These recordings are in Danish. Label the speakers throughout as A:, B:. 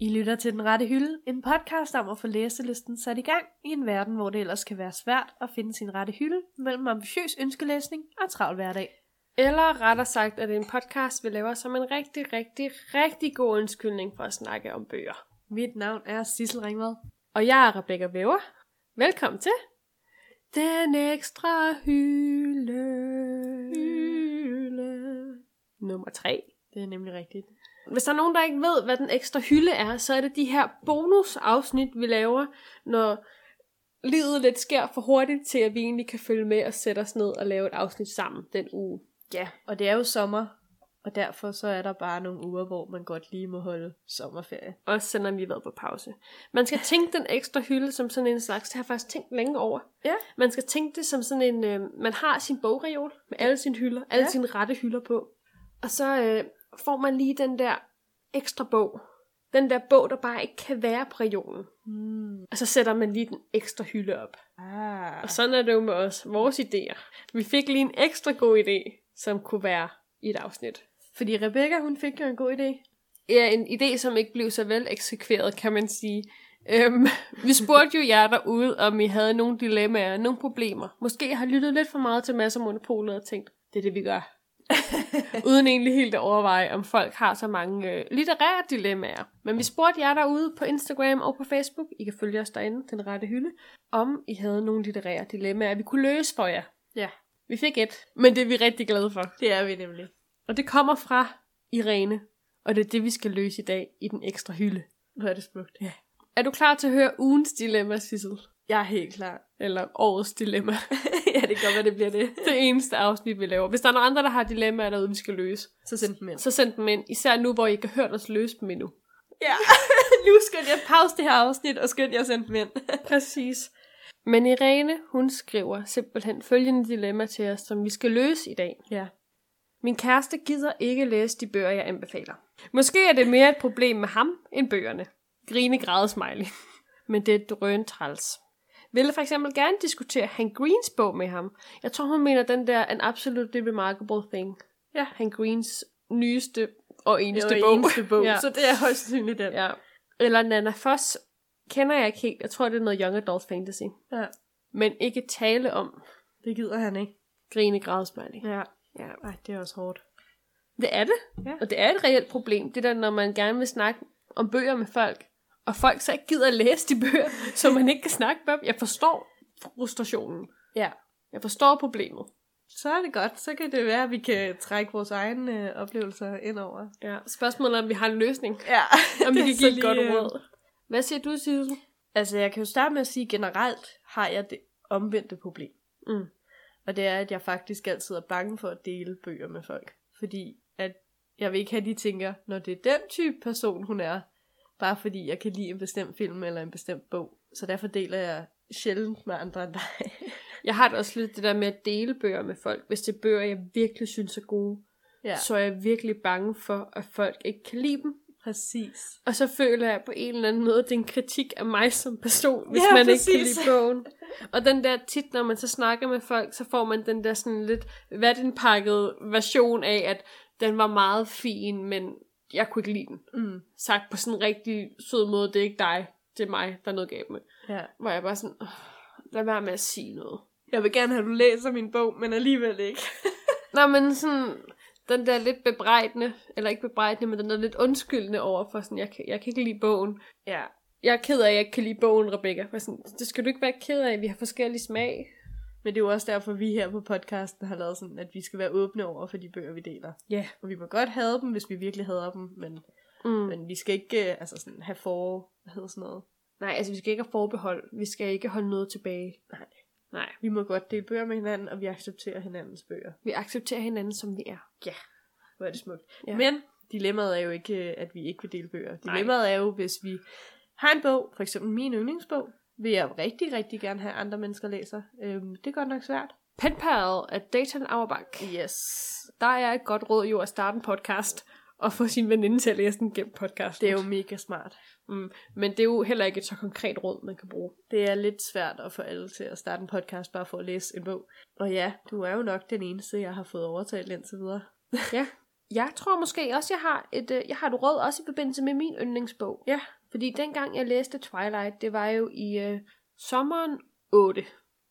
A: lytter til Den Rette Hylde, en podcast om at få læselisten sat i gang i en verden, hvor det ellers kan være svært at finde sin rette hylde mellem ambitiøs ønskelæsning og travl hverdag.
B: Eller rettere sagt, at det er en podcast, vi laver som en rigtig, rigtig, rigtig god undskyldning for at snakke om bøger.
A: Mit navn er Sissel Ringvad.
B: Og jeg er Rebecca Væver. Velkommen til Den Ekstra Hylde. Hylde. Nummer 3.
A: Det er nemlig rigtigt.
B: Hvis der er nogen, der ikke ved, hvad den ekstra hylde er, så er det de her bonusafsnit, vi laver, når livet lidt sker for hurtigt til, at vi egentlig kan følge med og sætte os ned og lave et afsnit sammen den uge.
A: Ja, og det er jo sommer, og derfor så er der bare nogle uger, hvor man godt lige må holde sommerferie.
B: Også selvom vi har været på pause. Man skal tænke den ekstra hylde som sådan en slags, det har jeg faktisk tænkt længe over.
A: Ja.
B: Man skal tænke det som sådan en, øh, man har sin bogreol med alle sine hylder, alle
A: Ja.
B: sine rette hylder på. Og så øh, får man lige den der ekstra bog. Den der bog, der bare ikke kan være på reolen.
A: Hmm.
B: Og så sætter man lige den ekstra hylde op.
A: Ah.
B: Og sådan er det jo med os, vores idéer. Vi fik lige en ekstra god idé, som kunne være i et afsnit.
A: Fordi Rebecca, hun fik jo en god idé.
B: Ja, en idé, som ikke blev så vel eksekveret, kan man sige. Øhm, vi spurgte jo jer derude, om I havde nogle dilemmaer, nogle problemer. Måske har lyttet lidt for meget til masser af monopolet og tænkt, det er det, vi gør. Uden egentlig helt at overveje, om folk har så mange øh, litterære dilemmaer. Men vi spurgte jer derude på Instagram og på Facebook, I kan følge os derinde, den rette hylde, om I havde nogle litterære dilemmaer, vi kunne løse for jer.
A: Ja,
B: Vi fik et, men det er vi rigtig glade for.
A: det er vi nemlig.
B: Og det kommer fra Irene, og det er det, vi skal løse i dag i den ekstra hylde.
A: Hvor er det smukt. Ja.
B: Er du klar til at høre ugens dilemma, Sissel?
A: Jeg er helt klar.
B: Eller årets dilemma.
A: ja, det kan godt, at det bliver det.
B: det eneste afsnit, vi laver. Hvis der er nogen andre, der har dilemmaer derude, vi skal løse,
A: Så send dem ind.
B: så send dem ind. Især nu, hvor I ikke har hørt os løse dem endnu.
A: Ja, nu skal jeg pause det her afsnit, og skynd jeg sende dem ind.
B: Præcis. Men Irene, hun skriver simpelthen følgende dilemma til os, som vi skal løse i dag.
A: ja.
B: Min kæreste gider ikke læse de bøger, jeg anbefaler. Måske er det mere et problem med ham end bøgerne. Grine græde smiley. Men det er drøn træls. Ville for eksempel gerne diskutere Han Greens bog med ham. Jeg tror, hun mener den der An Absolutely Remarkable Thing.
A: Ja.
B: Han Greens nyeste og eneste
A: Det var
B: bog.
A: eneste bog,
B: ja.
A: så det er højst sandsynligt den.
B: ja. Eller Nana Foss kender jeg ikke helt. Jeg tror, det er noget Young Adult Fantasy.
A: ja.
B: Men ikke tale om
A: Det gider han ikke.
B: Grine græde smiley.
A: Ja.
B: Ja.
A: Ej, det er også hårdt.
B: Det er det.
A: Ja.
B: Og det er et reelt problem, det der, når man gerne vil snakke om bøger med folk, og folk så ikke gider læse de bøger, så man ikke kan snakke med dem. Jeg forstår frustrationen.
A: Ja.
B: Jeg forstår problemet.
A: Så er det godt. Så kan det være, at vi kan trække vores egne øh, oplevelser ind over.
B: Ja. Spørgsmålet er, om vi har en løsning,
A: Ja.
B: om vi
A: Det er
B: kan
A: så
B: give et godt
A: lige, øh,
B: råd. Hvad siger du, Sissel?
A: Altså, jeg kan jo starte med at sige, at generelt har jeg det omvendte problem.
B: Mm.
A: Og det er, at jeg faktisk altid er bange for at dele bøger med folk. Fordi at jeg vil ikke have, at de tænker, når det er den type person, hun er, bare fordi jeg kan lide en bestemt film eller en bestemt bog. Så derfor deler jeg sjældent med andre end dig.
B: Jeg har det også lidt det der med at dele bøger med folk. Hvis det er bøger, jeg virkelig synes er gode,
A: ja,
B: ja. så er jeg virkelig bange for, at folk ikke kan lide dem.
A: præcis.
B: Og så føler jeg på en eller anden måde, at det er en kritik af mig som person, hvis
A: Ja,
B: ja, man præcis. ikke kan
A: præcis.
B: lide bogen. Og den der tit, når man så snakker med folk, så får man den der sådan lidt vatindpakkede version af, at den var meget fin, men jeg kunne ikke lide den.
A: Mm.
B: Sagt på sådan en rigtig sød måde, det er ikke dig, det er mig, der er noget galt med.
A: Ja.
B: Hvor jeg bare sådan, "Åh, lad være med at sige noget.
A: Jeg vil gerne have, at du læser min bog, men alligevel ikke.
B: Nå, men sådan, den der lidt bebrejdende, eller ikke bebrejdende, men den der lidt undskyldende over for sådan, jeg kan, jeg kan ikke lide bogen.
A: Ja.
B: jeg er ked af, at jeg ikke kan lide bogen, Rebecca. Var Sådan, det skal du ikke være ked af, vi har forskellige smag.
A: Men det er jo også derfor, vi her på podcasten har lavet sådan, at vi skal være åbne over for de bøger, vi deler.
B: Ja.
A: Og vi må godt have dem, hvis vi virkelig hader dem, men,
B: Mm.
A: men vi skal ikke øh, altså sådan, have for... Hvad hedder sådan noget?
B: Nej, altså vi skal ikke have forbehold. Vi skal ikke holde noget tilbage.
A: Nej.
B: Nej,
A: Vi må godt dele bøger med hinanden, og vi accepterer hinandens bøger.
B: vi accepterer hinanden, som vi er.
A: Hvor er det smukt. Ja.
B: Ja.
A: Men dilemmaet er jo ikke, øh, at vi ikke vil dele bøger. Dilemmaet er jo, hvis vi har en bog, for eksempel min yndlingsbog, vil jeg rigtig, rigtig gerne have andre mennesker læser. Øhm, det er godt nok svært.
B: Penpal af Dayton Auerbach.
A: Yes.
B: Der er et godt råd jo at starte en podcast og få sin veninde til at læse den gennem podcast.
A: Det er jo mega smart.
B: Mm. Men det er jo heller ikke et så konkret råd, man kan bruge.
A: Det er lidt svært at få alle til at starte en podcast bare for at læse en bog. Og ja, du er jo nok den eneste, jeg har fået overtalt indtil videre.
B: Ja. Jeg tror måske også, jeg har et, øh, jeg har et råd også i forbindelse med min yndlingsbog.
A: Ja.
B: Fordi dengang jeg læste Twilight, det var jo i øh, sommeren 8.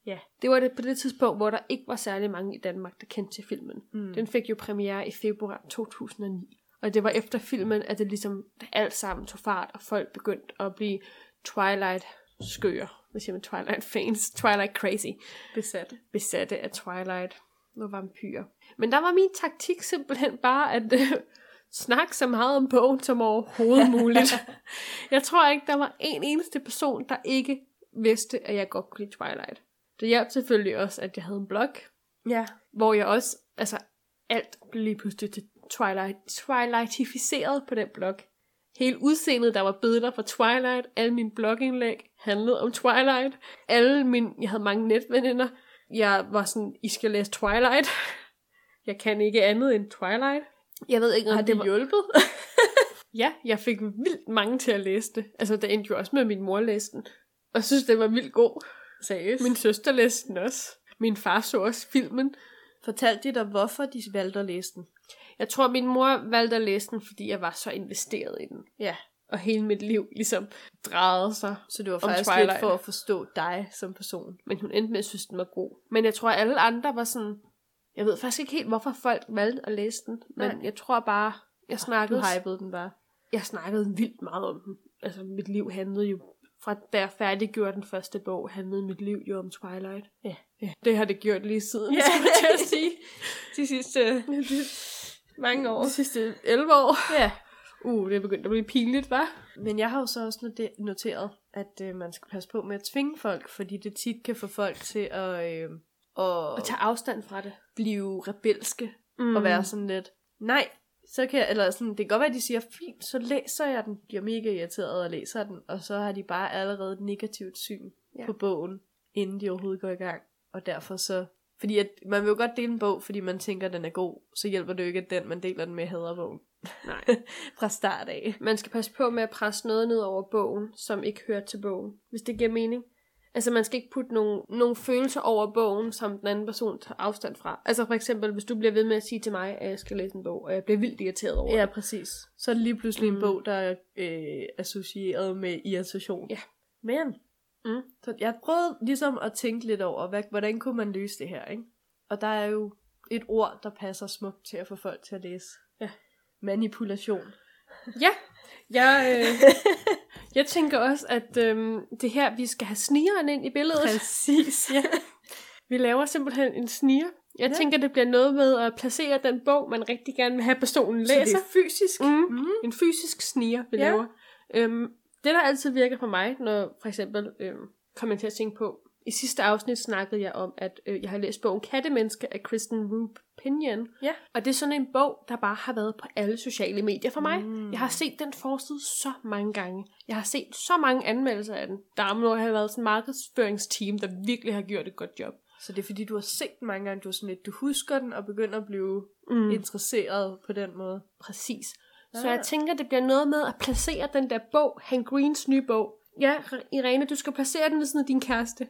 A: Ja.
B: Det var det på det tidspunkt, hvor der ikke var særlig mange i Danmark, der kendte til filmen.
A: Mm.
B: Den fik jo premiere i februar 2009. Og det var efter filmen, at det ligesom alt sammen tog fart, og folk begyndte at blive Twilight-skøre. Hvad siger man? Twilight-fans. Twilight-crazy
A: besat.
B: besatte af Twilight og vampyrer. Men der var min taktik simpelthen bare at øh, snakke så meget om bogen som overhovedet muligt. jeg tror ikke, der var en eneste person, der ikke vidste, at jeg godt kunne lide Twilight. Det hjalp selvfølgelig også, at jeg havde en blog,
A: Ja.
B: hvor jeg også, altså alt blev lige pludselig til Twilight, Twilightificeret på den blog. Hele udseendet, der var billeder fra Twilight, alle mine blogindlæg handlede om Twilight, alle mine, jeg havde mange netveninder, jeg var sådan, I skal læse Twilight, jeg kan ikke andet end Twilight. Jeg ved ikke, om
A: Har det
B: var...
A: hjulpet?
B: Ja, jeg fik vildt mange til at læse det. Altså, det endte jo også med, at min mor læste den. Og synes, den var vildt god.
A: Seriøst? Men
B: Min søster læste den også. Min far så også filmen.
A: fortalte de dig, hvorfor de valgte at læse den?
B: Jeg tror, min mor valgte at læse den, fordi jeg var så investeret i den.
A: Ja.
B: Og hele mit liv ligesom drejede sig.
A: Så det var faktisk lidt
B: Twilight.
A: for at forstå dig som person.
B: Men hun endte med at synes, den var god. Men jeg tror, alle andre var sådan... Jeg ved faktisk ikke helt, hvorfor folk valgte at læse den. Men
A: Nej.
B: jeg tror bare, jeg
A: Du
B: snakkede,
A: hypede den bare.
B: jeg snakkede vildt meget om den. Altså, mit liv handlede jo... Fra da jeg færdiggjorde den første bog, handlede mit liv jo om Twilight.
A: Ja.
B: ja. Det har det gjort lige siden.
A: Ja.
B: skulle jeg til at sige.
A: De sidste mange
B: øh, De sidste 11 år.
A: Ja.
B: Uh, det er begyndt at blive pinligt, hva'?
A: Men jeg har jo så også note- noteret, at øh, man skal passe på med at tvinge folk, fordi det tit kan få folk til at, øh, at
B: Og tage afstand fra det.
A: blive rebelske
B: Mm.
A: mm. og være sådan lidt, nej, så kan jeg, eller sådan, det kan godt være, at de siger, fint, så læser jeg den, bliver mega irriteret og læser den, og så har de bare allerede et negativt syn
B: Ja.
A: ja. på bogen, inden de overhovedet går i gang, og derfor så, fordi at, man vil jo godt dele en bog, fordi man tænker, at den er god, så hjælper det jo ikke, at den, man deler den med, hader bogen.
B: Nej.
A: Fra start af.
B: Man skal passe på med at presse noget ned over bogen, som ikke hører til bogen, hvis det giver mening. Altså man skal ikke putte nogle, nogle følelser over bogen, som den anden person tager afstand fra. Altså for eksempel, hvis du bliver ved med at sige til mig, at jeg skal læse en bog, og jeg bliver vildt irriteret over
A: Ja,
B: det.
A: præcis. Så er det lige pludselig mm.
B: Mm.
A: en bog, der er øh, associeret med irritation.
B: Ja.
A: Men,
B: Mm.
A: så jeg prøvede ligesom at tænke lidt over, hvad, hvordan kunne man løse det her, ikke? Og der er jo et ord, der passer smukt til at få folk til at læse.
B: Ja.
A: Manipulation.
B: Ja, jeg, øh, jeg tænker også, at øh, det her, vi skal have snigeren ind i billedet.
A: Præcis.
B: Ja. Vi laver simpelthen en sniger. Jeg ja.
A: Ja.
B: tænker, det bliver noget med at placere den bog, man rigtig gerne vil have personen
A: Så det
B: læser.
A: er fysisk.
B: Mm.
A: Mm.
B: En fysisk sniger, vi ja.
A: Ja.
B: laver. Øhm, det, der altid virker for mig, når for eksempel øhm, kom jeg til at tænke på, i sidste afsnit snakkede jeg om, at øh, jeg har læst bogen Kattemenneske af Kristen Roop Pinion.
A: Ja.
B: Og det er sådan en bog, der bare har været på alle sociale medier for mig.
A: Mm.
B: Jeg har set den forside så mange gange. Jeg har set så mange anmeldelser af den. Der må have været sådan et markedsføringsteam, der virkelig har gjort et godt job.
A: Så det er fordi, du har set den mange gange, du er sådan lidt, du husker den og begynder at blive mm.
B: Mm.
A: interesseret på den måde.
B: Præcis. Så
A: Ah.
B: jeg tænker, det bliver noget med at placere den der bog, Han Greens nye bog. Ja, Irene, du skal placere den ved siden af din kæreste.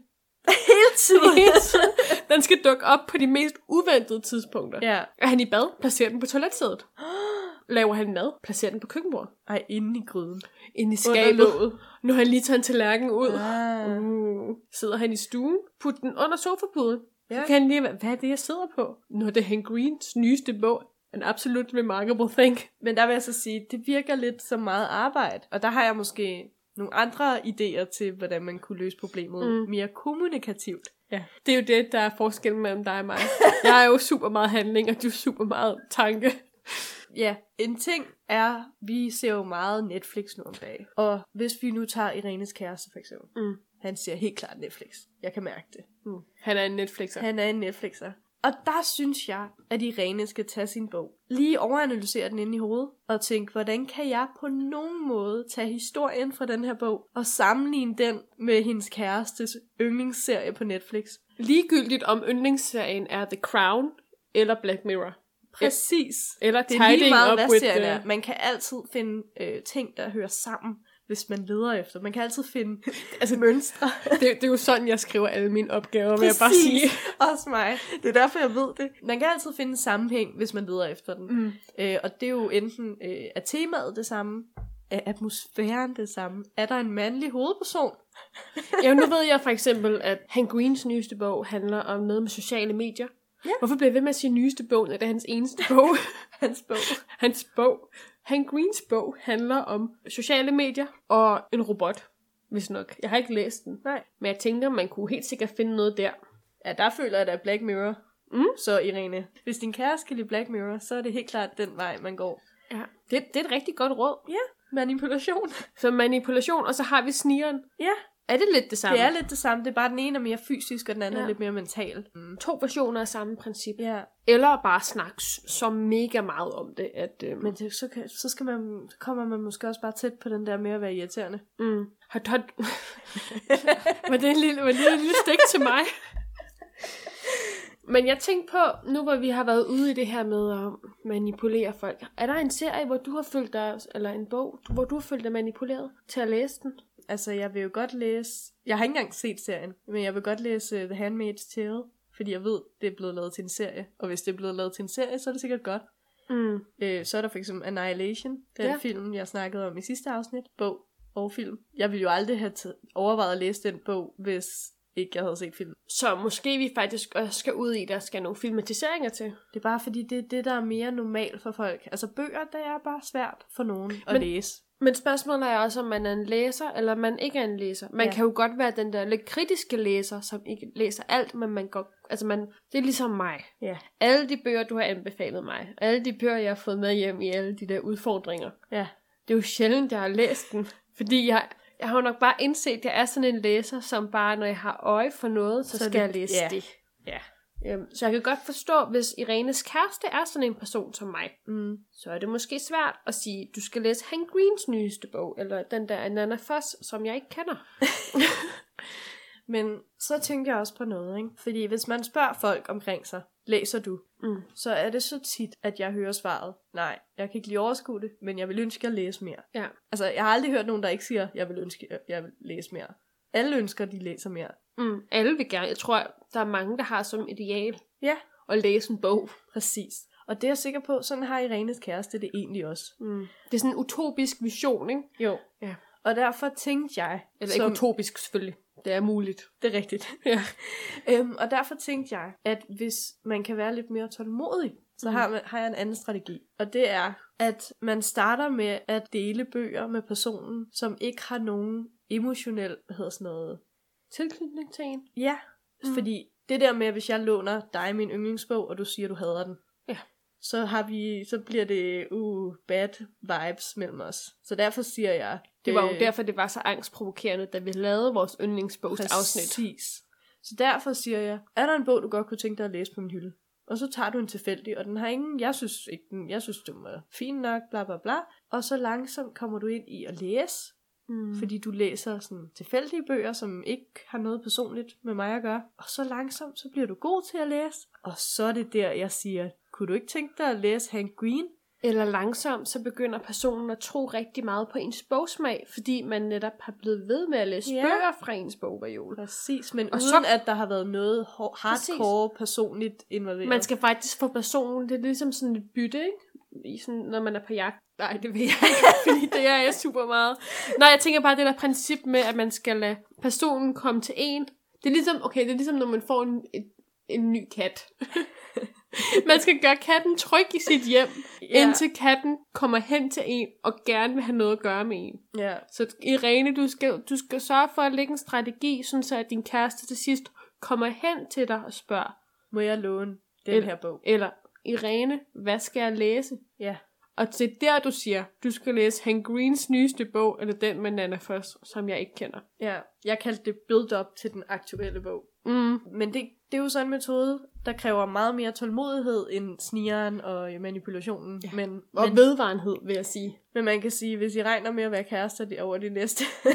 A: Hele
B: Hele tiden. den skal dukke op på de mest uventede tidspunkter.
A: ja.
B: Er han i bad? Placer den på toiletsædet. Laver han mad? Placer den på køkkenbordet.
A: Ej, inde i gryden.
B: Ind i skabet.
A: Under låget.
B: Når han lige tager en tallerken ud.
A: Ah.
B: Uh. Sidder han i stuen? Put den under sofapuden. Ja.
A: Ja.
B: Så kan han lige være, hvad er det, jeg sidder på? Når det er Han Greens nyeste bog, An Absolute Remarkable Thing.
A: Men der vil jeg så sige, det virker lidt som meget arbejde. Og der har jeg måske nogle andre idéer til, hvordan man kunne løse problemet
B: Mm.
A: mm. mere kommunikativt.
B: Ja, det er jo det, der er forskellen mellem dig og mig. Jeg er jo super meget handling, og du er super meget tanke.
A: Ja, en ting er, vi ser jo meget Netflix nu om dagen. Og hvis vi nu tager Irenes kæreste for eksempel.
B: Mm.
A: Han ser helt klart Netflix. Jeg kan mærke det.
B: Mm. Han er en Netflixer.
A: Han er en Netflixer. Og der synes jeg, at Irene skal tage sin bog. Lige overanalysere den inde i hovedet, og tænke, hvordan kan jeg på nogen måde tage historien fra den her bog, og sammenligne den med hendes kærestes yndlingsserie på Netflix.
B: Ligegyldigt om yndlingsserien er The Crown eller Black Mirror.
A: Præcis.
B: Eller
A: Det er lige
B: Tidying
A: meget,
B: Up
A: hvad
B: with
A: serien
B: the-
A: er. Man kan altid finde øh, ting, der hører sammen, hvis man leder efter. Man kan altid finde altså, mønstre.
B: Det, det er jo sådan, jeg skriver alle mine opgaver, vil jeg bare sige.
A: Også mig. Det er derfor, jeg ved det. Man kan altid finde en sammenhæng, hvis man leder efter den.
B: Mm.
A: Øh, og det er jo enten, øh, er temaet det samme, Er atmosfæren det samme? Er der en mandlig hovedperson?
B: Ja, nu ved jeg for eksempel, at Han Greens nyeste bog handler om noget med sociale medier.
A: Ja.
B: Hvorfor bliver jeg ved med at sige nyeste bog, når det er hans eneste bog?
A: Hans bog.
B: hans bog. Han Greens bog handler om sociale medier og en robot, hvis nok. Jeg har ikke læst den,
A: Nej.
B: men jeg tænker, man kunne helt sikkert finde noget der.
A: Ja, der føler jeg, der er Black Mirror.
B: Mm.
A: Så Irene, hvis din kæreste kan lide Black Mirror, så er det helt klart den vej, man går.
B: Ja. Det, det er et rigtig godt råd.
A: Manipulation.
B: Så manipulation, og så har vi snigeren.
A: Ja,
B: Er det lidt det samme?
A: det er lidt det samme. Det er bare, den ene er mere fysisk, og den anden ja.
B: Ja.
A: er lidt mere mental. Mm.
B: to versioner af samme princip.
A: Ja,
B: Eller bare snakke s- så mega meget om det, at... Øhm,
A: men det, så, kan, så skal man, så kommer man måske også bare tæt på den der med at være irriterende.
B: Mm. Har du... Har... du- var det en lille, var det en lille stik til mig? Men jeg tænkte på, nu hvor vi har været ude i det her med at manipulere folk, er der en serie, hvor du har følt dig, eller en bog, hvor du har følt dig manipuleret til at læse den?
A: Altså, jeg vil jo godt læse... Jeg har ikke engang set serien, men jeg vil godt læse øh, The Handmaid's Tale, fordi jeg ved, det er blevet lavet til en serie. Og hvis det er blevet lavet til en serie, så er det sikkert godt.
B: Mm.
A: Øh, så er der for eksempel Annihilation, den ja.
B: Ja.
A: film, jeg snakkede om i sidste afsnit, bog og film. Jeg ville jo aldrig have t- overvejet at læse den bog, hvis ikke jeg havde set filmen.
B: Så måske vi faktisk også skal ud i, der skal nogle filmatiseringer til.
A: Det er bare fordi, det er det, der er mere normalt for folk. Altså bøger, der er bare svært for nogen at
B: Men-
A: læse.
B: Men spørgsmålet er også, om man er en læser, eller om man ikke er en læser. Man
A: Ja.
B: ja. kan jo godt være den der lidt kritiske læser, som ikke læser alt, men man går... Altså, man, det er ligesom mig.
A: Ja.
B: Alle de bøger, du har anbefalet mig, alle de bøger, jeg har fået med hjem i alle de der udfordringer,
A: Ja.
B: det er jo sjældent, jeg har læst den. Fordi jeg, jeg har jo nok bare indset, at jeg er sådan en læser, som bare, når jeg har øje for noget, så,
A: Så
B: så
A: er
B: skal
A: det-
B: jeg læse
A: ja.
B: det.
A: Ja.
B: Øhm, Så jeg kan godt forstå, hvis Irenes kæreste er sådan en person som mig,
A: Mm.
B: så er det måske svært at sige, du skal læse Han Greens nyeste bog, eller den der Anana Foss, som jeg ikke kender.
A: Men så tænker jeg også på noget, ikke? Fordi hvis man spørger folk omkring sig, læser du?
B: Mm.
A: Så er det så tit, at jeg hører svaret, nej, jeg kan ikke lige overskue det, men jeg vil ønske, at jeg læser mere.
B: Ja.
A: Altså, jeg har aldrig hørt nogen, der ikke siger, jeg vil ønske, at jeg vil læse mere. Alle ønsker, de læser mere.
B: Mm. Alle vil gerne. Jeg tror, der er mange, der har som ideal
A: Ja,
B: at læse en bog.
A: præcis. Og det er jeg sikker på, sådan har Irenes kæreste det egentlig også.
B: Mm. Det er sådan en utopisk vision, ikke?
A: Jo.
B: Ja.
A: Og derfor tænkte jeg...
B: Eller som... ikke utopisk, selvfølgelig. Det er muligt.
A: Det er rigtigt.
B: Ja.
A: Øhm, og derfor tænkte jeg, at hvis man kan være lidt mere tålmodig,
B: Mm.
A: så har, man, har jeg en anden strategi. Og det er, at man starter med at dele bøger med personen, som ikke har nogen emotionel, hvad hedder sådan noget,
B: Tilknytning til en.
A: Ja, mm.
B: Mm.
A: fordi det der med, at hvis jeg låner dig min yndlingsbog, og du siger, du hader den,
B: Ja.
A: så, har vi, så bliver det uh, bad vibes mellem os. Så derfor siger jeg...
B: Det var jo
A: øh,
B: derfor, det var så angstprovokerende, da vi lavede vores yndlingsbogsafsnit.
A: Præcis. Så derfor siger jeg, er der en bog, du godt kunne tænke dig at læse på min hylde? Og så tager du en tilfældig, og den har ingen, jeg synes ikke den, jeg synes den var fin nok, bla bla bla. Og så langsomt kommer du ind i at læse,
B: Mm. Fordi...
A: fordi du læser sådan tilfældige bøger, som ikke har noget personligt med mig at gøre. Og så langsomt, så bliver du god til at læse. Og så er det der, jeg siger, kunne du ikke tænke dig at læse Hank Green?
B: Eller langsomt, så begynder personen at tro rigtig meget på ens bogsmag, fordi man netop har blevet ved med at læse
A: Ja.
B: yeah. bøger fra ens bogreol.
A: Præcis, men
B: Og
A: uden
B: så-
A: så... at der har været noget hår-
B: Præcis.
A: hardcore personligt involveret.
B: Man skal faktisk få personen, det er ligesom sådan et bytte, ikke? I sådan, når man er på jagt. Nej, det ved jeg ikke, fordi det er jeg super meget. Nej, jeg tænker bare det der princip med, at man skal lade personen komme til en. Det er ligesom, okay, det er ligesom, når man får en, et, en ny kat. man skal gøre katten tryg i sit hjem,
A: ja.
B: ja. indtil katten kommer hen til en og gerne vil have noget at gøre med en.
A: Ja,
B: Så Irene, du skal, du skal sørge for at lægge en strategi, sådan så at din kæreste til sidst kommer hen til dig og spørger,
A: må jeg låne den
B: Et-
A: her bog?
B: eller Irene, hvad skal jeg læse?
A: Ja.
B: Og til der, du siger, du skal læse Han Greens nyeste bog, eller den med Nana Foss, som jeg ikke kender.
A: ja. Jeg kaldte det build-up til den aktuelle bog.
B: Mm.
A: Men det, det er jo sådan en metode, der kræver meget mere tålmodighed end snigeren og øh, manipulationen. Ja. Men,
B: Og
A: men,
B: vedvarenhed, vil jeg sige.
A: men man kan sige, hvis I regner med at være kærester det over de næste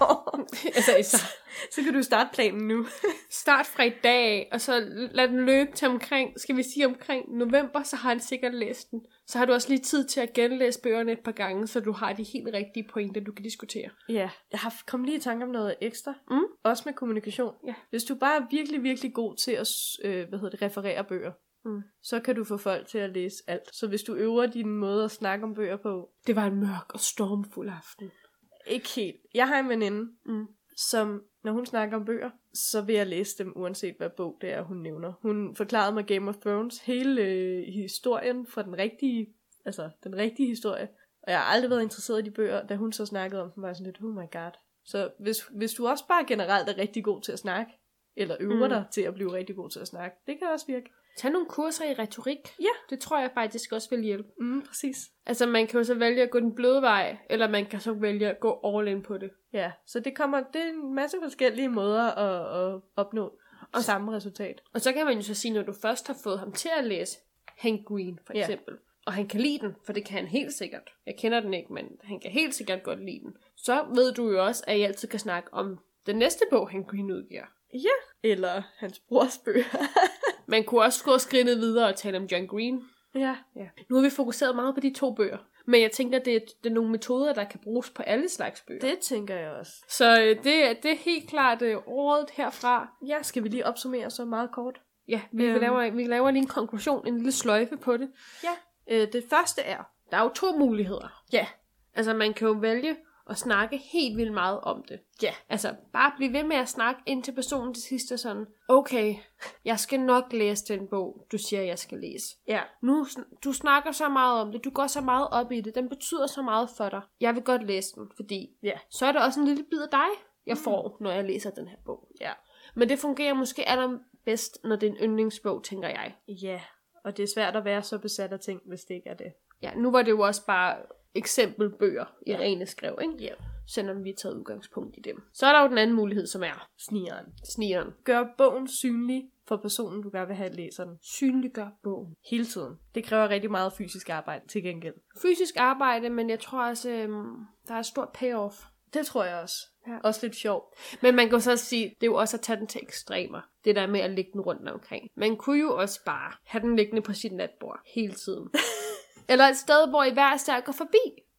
A: år,
B: altså, i s-
A: så kan du starte planen nu.
B: start fra i dag, af, og så lad den løbe til omkring, skal vi sige omkring november, så har han sikkert læst den. Så har du også lige tid til at genlæse bøgerne et par gange, så du har de helt rigtige pointer, du kan diskutere.
A: Ja, jeg har kommet lige i tanke om noget ekstra.
B: Mm.
A: Også med kommunikation.
B: Ja.
A: Hvis du bare er virkelig, virkelig god til at s- øh, hvad hedder det, referere bøger, Mm. Så kan du få folk til at læse alt. Så hvis du øver din måde at snakke om bøger på... Det var en mørk og stormfuld aften. Ikke helt. Jeg har en veninde,
B: Mm.
A: som når hun snakker om bøger, så vil jeg læse dem, uanset hvad bog det er, hun nævner. Hun forklarede mig Game of Thrones, hele øh, historien fra den rigtige, altså den rigtige historie. Og jeg har aldrig været interesseret i de bøger, da hun så snakkede om dem, var jeg sådan lidt, oh my god. Så hvis, hvis du også bare generelt er rigtig god til at snakke, eller øver
B: Mm.
A: mm. dig til at blive rigtig god til at snakke, det kan også virke.
B: Tag nogle kurser i retorik.
A: Ja.
B: Det tror jeg faktisk også vil hjælpe.
A: Mm, præcis.
B: Altså, man kan jo så vælge at gå den bløde vej, eller man kan så vælge at gå all in på det.
A: Ja, så det kommer, det er en masse forskellige måder at, at opnå og samme resultat.
B: Og så kan man jo så sige, når du først har fået ham til at læse Hank Green, for
A: Ja.
B: eksempel, og han kan lide den, for det kan han helt sikkert. Jeg kender den ikke, men han kan helt sikkert godt lide den. Så ved du jo også, at I altid kan snakke om den næste bog, Hank Green udgiver.
A: Eller hans brors bøger.
B: Man kunne også gå skridtet videre og tale om John Green.
A: ja,
B: Ja. Nu har vi fokuseret meget på de to bøger, men jeg tænker, at det er, det er nogle metoder, der kan bruges på alle slags bøger.
A: det tænker jeg også.
B: Så øh, det, er- det er helt klart øh, rådet herfra.
A: Ja, skal vi lige opsummere så meget kort?
B: Ja, vi, øhm.
A: Øhm.
B: laver, vi laver lige en konklusion, en lille sløjfe på det.
A: Øh, det første er,
B: Der er jo to muligheder. Ja. Altså, man kan jo vælge at snakke helt vildt meget om det. Ja. Altså, bare blive ved med at snakke indtil personen til sidst er sådan, okay, jeg skal nok læse den bog, du siger, jeg skal læse.
A: ja,
B: Nu, sn- du snakker så meget om det, du går så meget op i det, den betyder så meget for dig. Jeg vil godt læse den, fordi
A: Ja.
B: så er det også en lille bid af dig, jeg får, når jeg læser den her bog.
A: Mm. Ja.
B: Men det fungerer måske allerbedst, når det er en yndlingsbog, tænker jeg.
A: ja, og det er svært at være så besat af ting, hvis det ikke er det.
B: Ja, nu var det jo også bare eksempelbøger i
A: Ja.
B: rene skrev, ikke?
A: Ja.
B: Selvom vi har taget udgangspunkt i dem. Så er der jo den anden mulighed, som er
A: Snigeren.
B: snigeren.
A: Gør bogen synlig for personen, du gerne vil have læser den.
B: Synliggør bogen.
A: Hele tiden. Det kræver rigtig meget fysisk arbejde til gengæld.
B: Fysisk arbejde, men jeg tror også, øhm, der er et stort payoff.
A: Det tror jeg også.
B: Ja.
A: Også lidt sjovt.
B: Men man kan jo så sige, det er jo også at tage den til ekstremer. Det der med at lægge den rundt omkring. Man kunne jo også bare have den liggende på sit natbord hele tiden. Eller et sted, hvor I hver især går forbi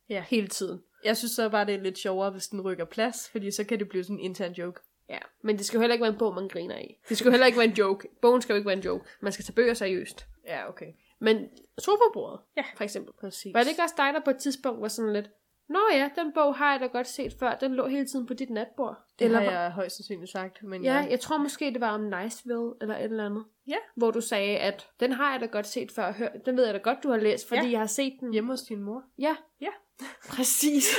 A: Ja.
B: hele tiden.
A: Jeg synes så bare, det er lidt sjovere, hvis den rykker plads, fordi så kan det blive sådan en intern joke.
B: Ja, men det skal jo heller ikke være en bog, man griner i. Det skal jo heller ikke være en joke. Bogen skal jo ikke være en joke. Man skal tage bøger seriøst.
A: Ja, okay.
B: Men sofabordet, ja. for eksempel.
A: Præcis.
B: Var det ikke også dig, der på et tidspunkt var sådan lidt, Nå ja, den bog har jeg da godt set før, den lå hele tiden på dit natbord.
A: Det
B: eller
A: har
B: var-
A: jeg højst sandsynligt sagt, men
B: Ja, jeg tror måske, det var om Niceville, eller et eller andet.
A: Ja.
B: Hvor du sagde, at den har jeg da godt set før, hør, den ved jeg da godt, du har læst, fordi
A: Ja.
B: jeg har set den.
A: hjemme hos din mor.
B: Ja.
A: Ja.
B: Præcis.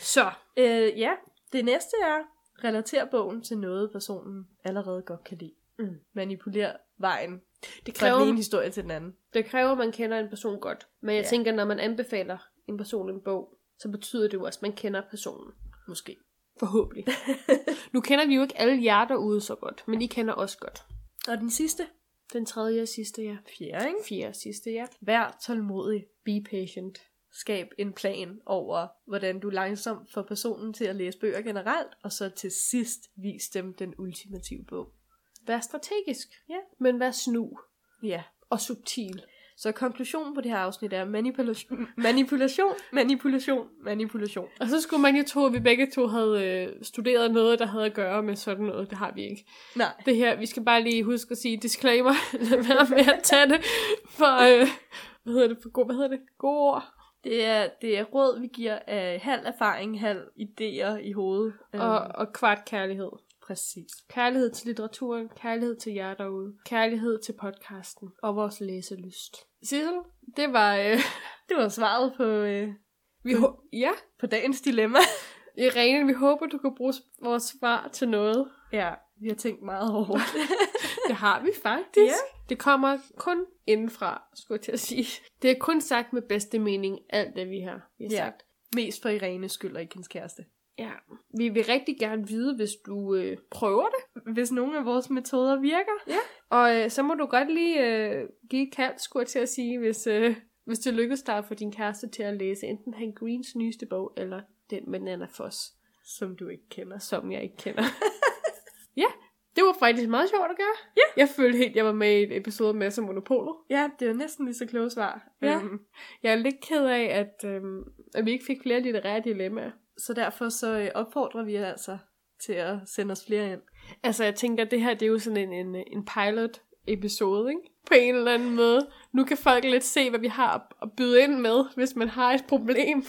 B: Så,
A: Øh, ja, det næste er, relater bogen til noget, personen allerede godt kan lide.
B: Mm.
A: Manipulér vejen
B: det
A: fra den ene
B: kræver,
A: historie til den anden.
B: det kræver, at man kender en person godt. Men jeg ja.
A: Ja.
B: tænker, når man anbefaler en person en bog, så betyder det jo også, at man kender personen.
A: Måske.
B: Forhåbentlig. nu kender vi jo ikke alle jer derude så godt, men I kender os godt.
A: Og den sidste,
B: Den tredje og sidste, ja.
A: fjerde, ikke?
B: Fjerde og sidste, ja.
A: Vær tålmodig.
B: Be patient.
A: Skab en plan over, hvordan du langsomt får personen til at læse bøger generelt, og så til sidst vis dem den ultimative bog.
B: Vær strategisk.
A: Ja.
B: Men vær snu.
A: Ja.
B: Og subtil.
A: Så konklusionen på det her afsnit er manipulation, manipulation, manipulation, manipulation.
B: Og så skulle man jo tro, at vi begge to havde øh, studeret noget, der havde at gøre med sådan noget. Det har vi ikke.
A: Nej.
B: Det her, vi skal bare lige huske at sige disclaimer. Lad være med at tage det for, øh, hvad hedder det, for gode, hvad hedder det? Gode ord.
A: Det er, det er råd, vi giver af halv erfaring, halv idéer i hovedet.
B: Og,
A: Øhm,
B: og kvart kærlighed.
A: præcis.
B: Kærlighed til litteraturen, kærlighed til jer derude, kærlighed til podcasten og vores læselyst. Sissel, det var... Øh,
A: Det var svaret på, øh,
B: vi ho- ja,
A: på dagens dilemma.
B: Irene, vi håber, du kan bruge vores svar til noget.
A: Ja, vi har tænkt meget over det.
B: Det har vi faktisk.
A: Ja.
B: Det kommer kun indenfra, skulle jeg til at sige. Det er kun sagt med bedste mening, alt det vi har, vi har
A: Ja.
B: sagt.
A: Mest for Irenes skyld og ikke hendes kæreste.
B: Ja. Vi vil rigtig gerne vide, hvis du øh, prøver det.
A: Hvis nogle af vores metoder virker.
B: Og øh, så må du godt lige øh, give et kald, skulle jeg til at sige, hvis, øh, hvis det lykkes dig at få din kæreste til at læse enten Han Greens nyeste bog, eller den med Nana Foss,
A: Som du ikke kender.
B: som jeg ikke kender. ja, det var faktisk meget sjovt at gøre. Ja. Jeg følte helt, jeg var med i et episode med som Monopolet.
A: Ja, det er næsten lige så kloge svar.
B: Ja.
A: Øhm,
B: Jeg er lidt ked af, at, øhm, at vi ikke fik flere litterære dilemmaer.
A: så derfor så øh, opfordrer vi jer altså til at sende os flere ind.
B: Altså, jeg tænker, at det her det er jo sådan en, en, en pilot episode, ikke? På en eller anden måde. Nu kan folk lidt se, hvad vi har at- at byde ind med, hvis man har et problem.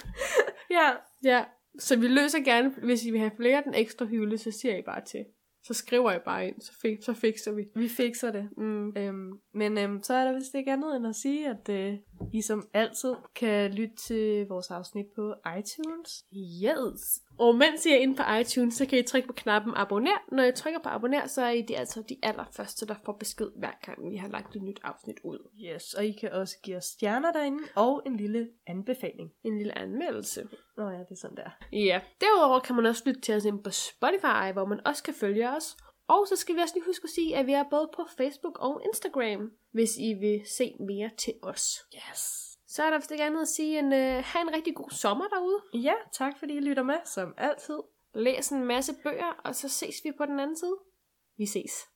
A: Ja.
B: Ja, så vi løser gerne, hvis I vil have flere af den ekstra hylde, så siger I bare til. Så skriver I bare ind, så, fik, så fikser vi.
A: Vi fikser det.
B: Mm.
A: Øhm, men øhm, så er der vist ikke andet end at sige, at øh, I som altid kan lytte til vores afsnit på iTunes.
B: Yes. Og mens I er inde på iTunes, så kan I trykke på knappen abonner. Når I trykker på abonner, så er I de, altså de allerførste, der får besked hver gang, vi har lagt et nyt afsnit ud.
A: Yes, og I kan også give os stjerner derinde og en lille anbefaling.
B: En lille anmeldelse.
A: Nå ja, det er sådan der.
B: Ja. Derudover kan man også lytte til os inde på Spotify, hvor man også kan følge os. Og så skal vi også lige huske at sige, at vi er både på Facebook og Instagram, hvis I vil se mere til os.
A: Yes.
B: Så er der vist ikke andet at sige end, øh, have en rigtig god sommer derude.
A: Ja, tak fordi I lytter med, som altid.
B: Læs en masse bøger, og så ses vi på den anden side. Vi ses.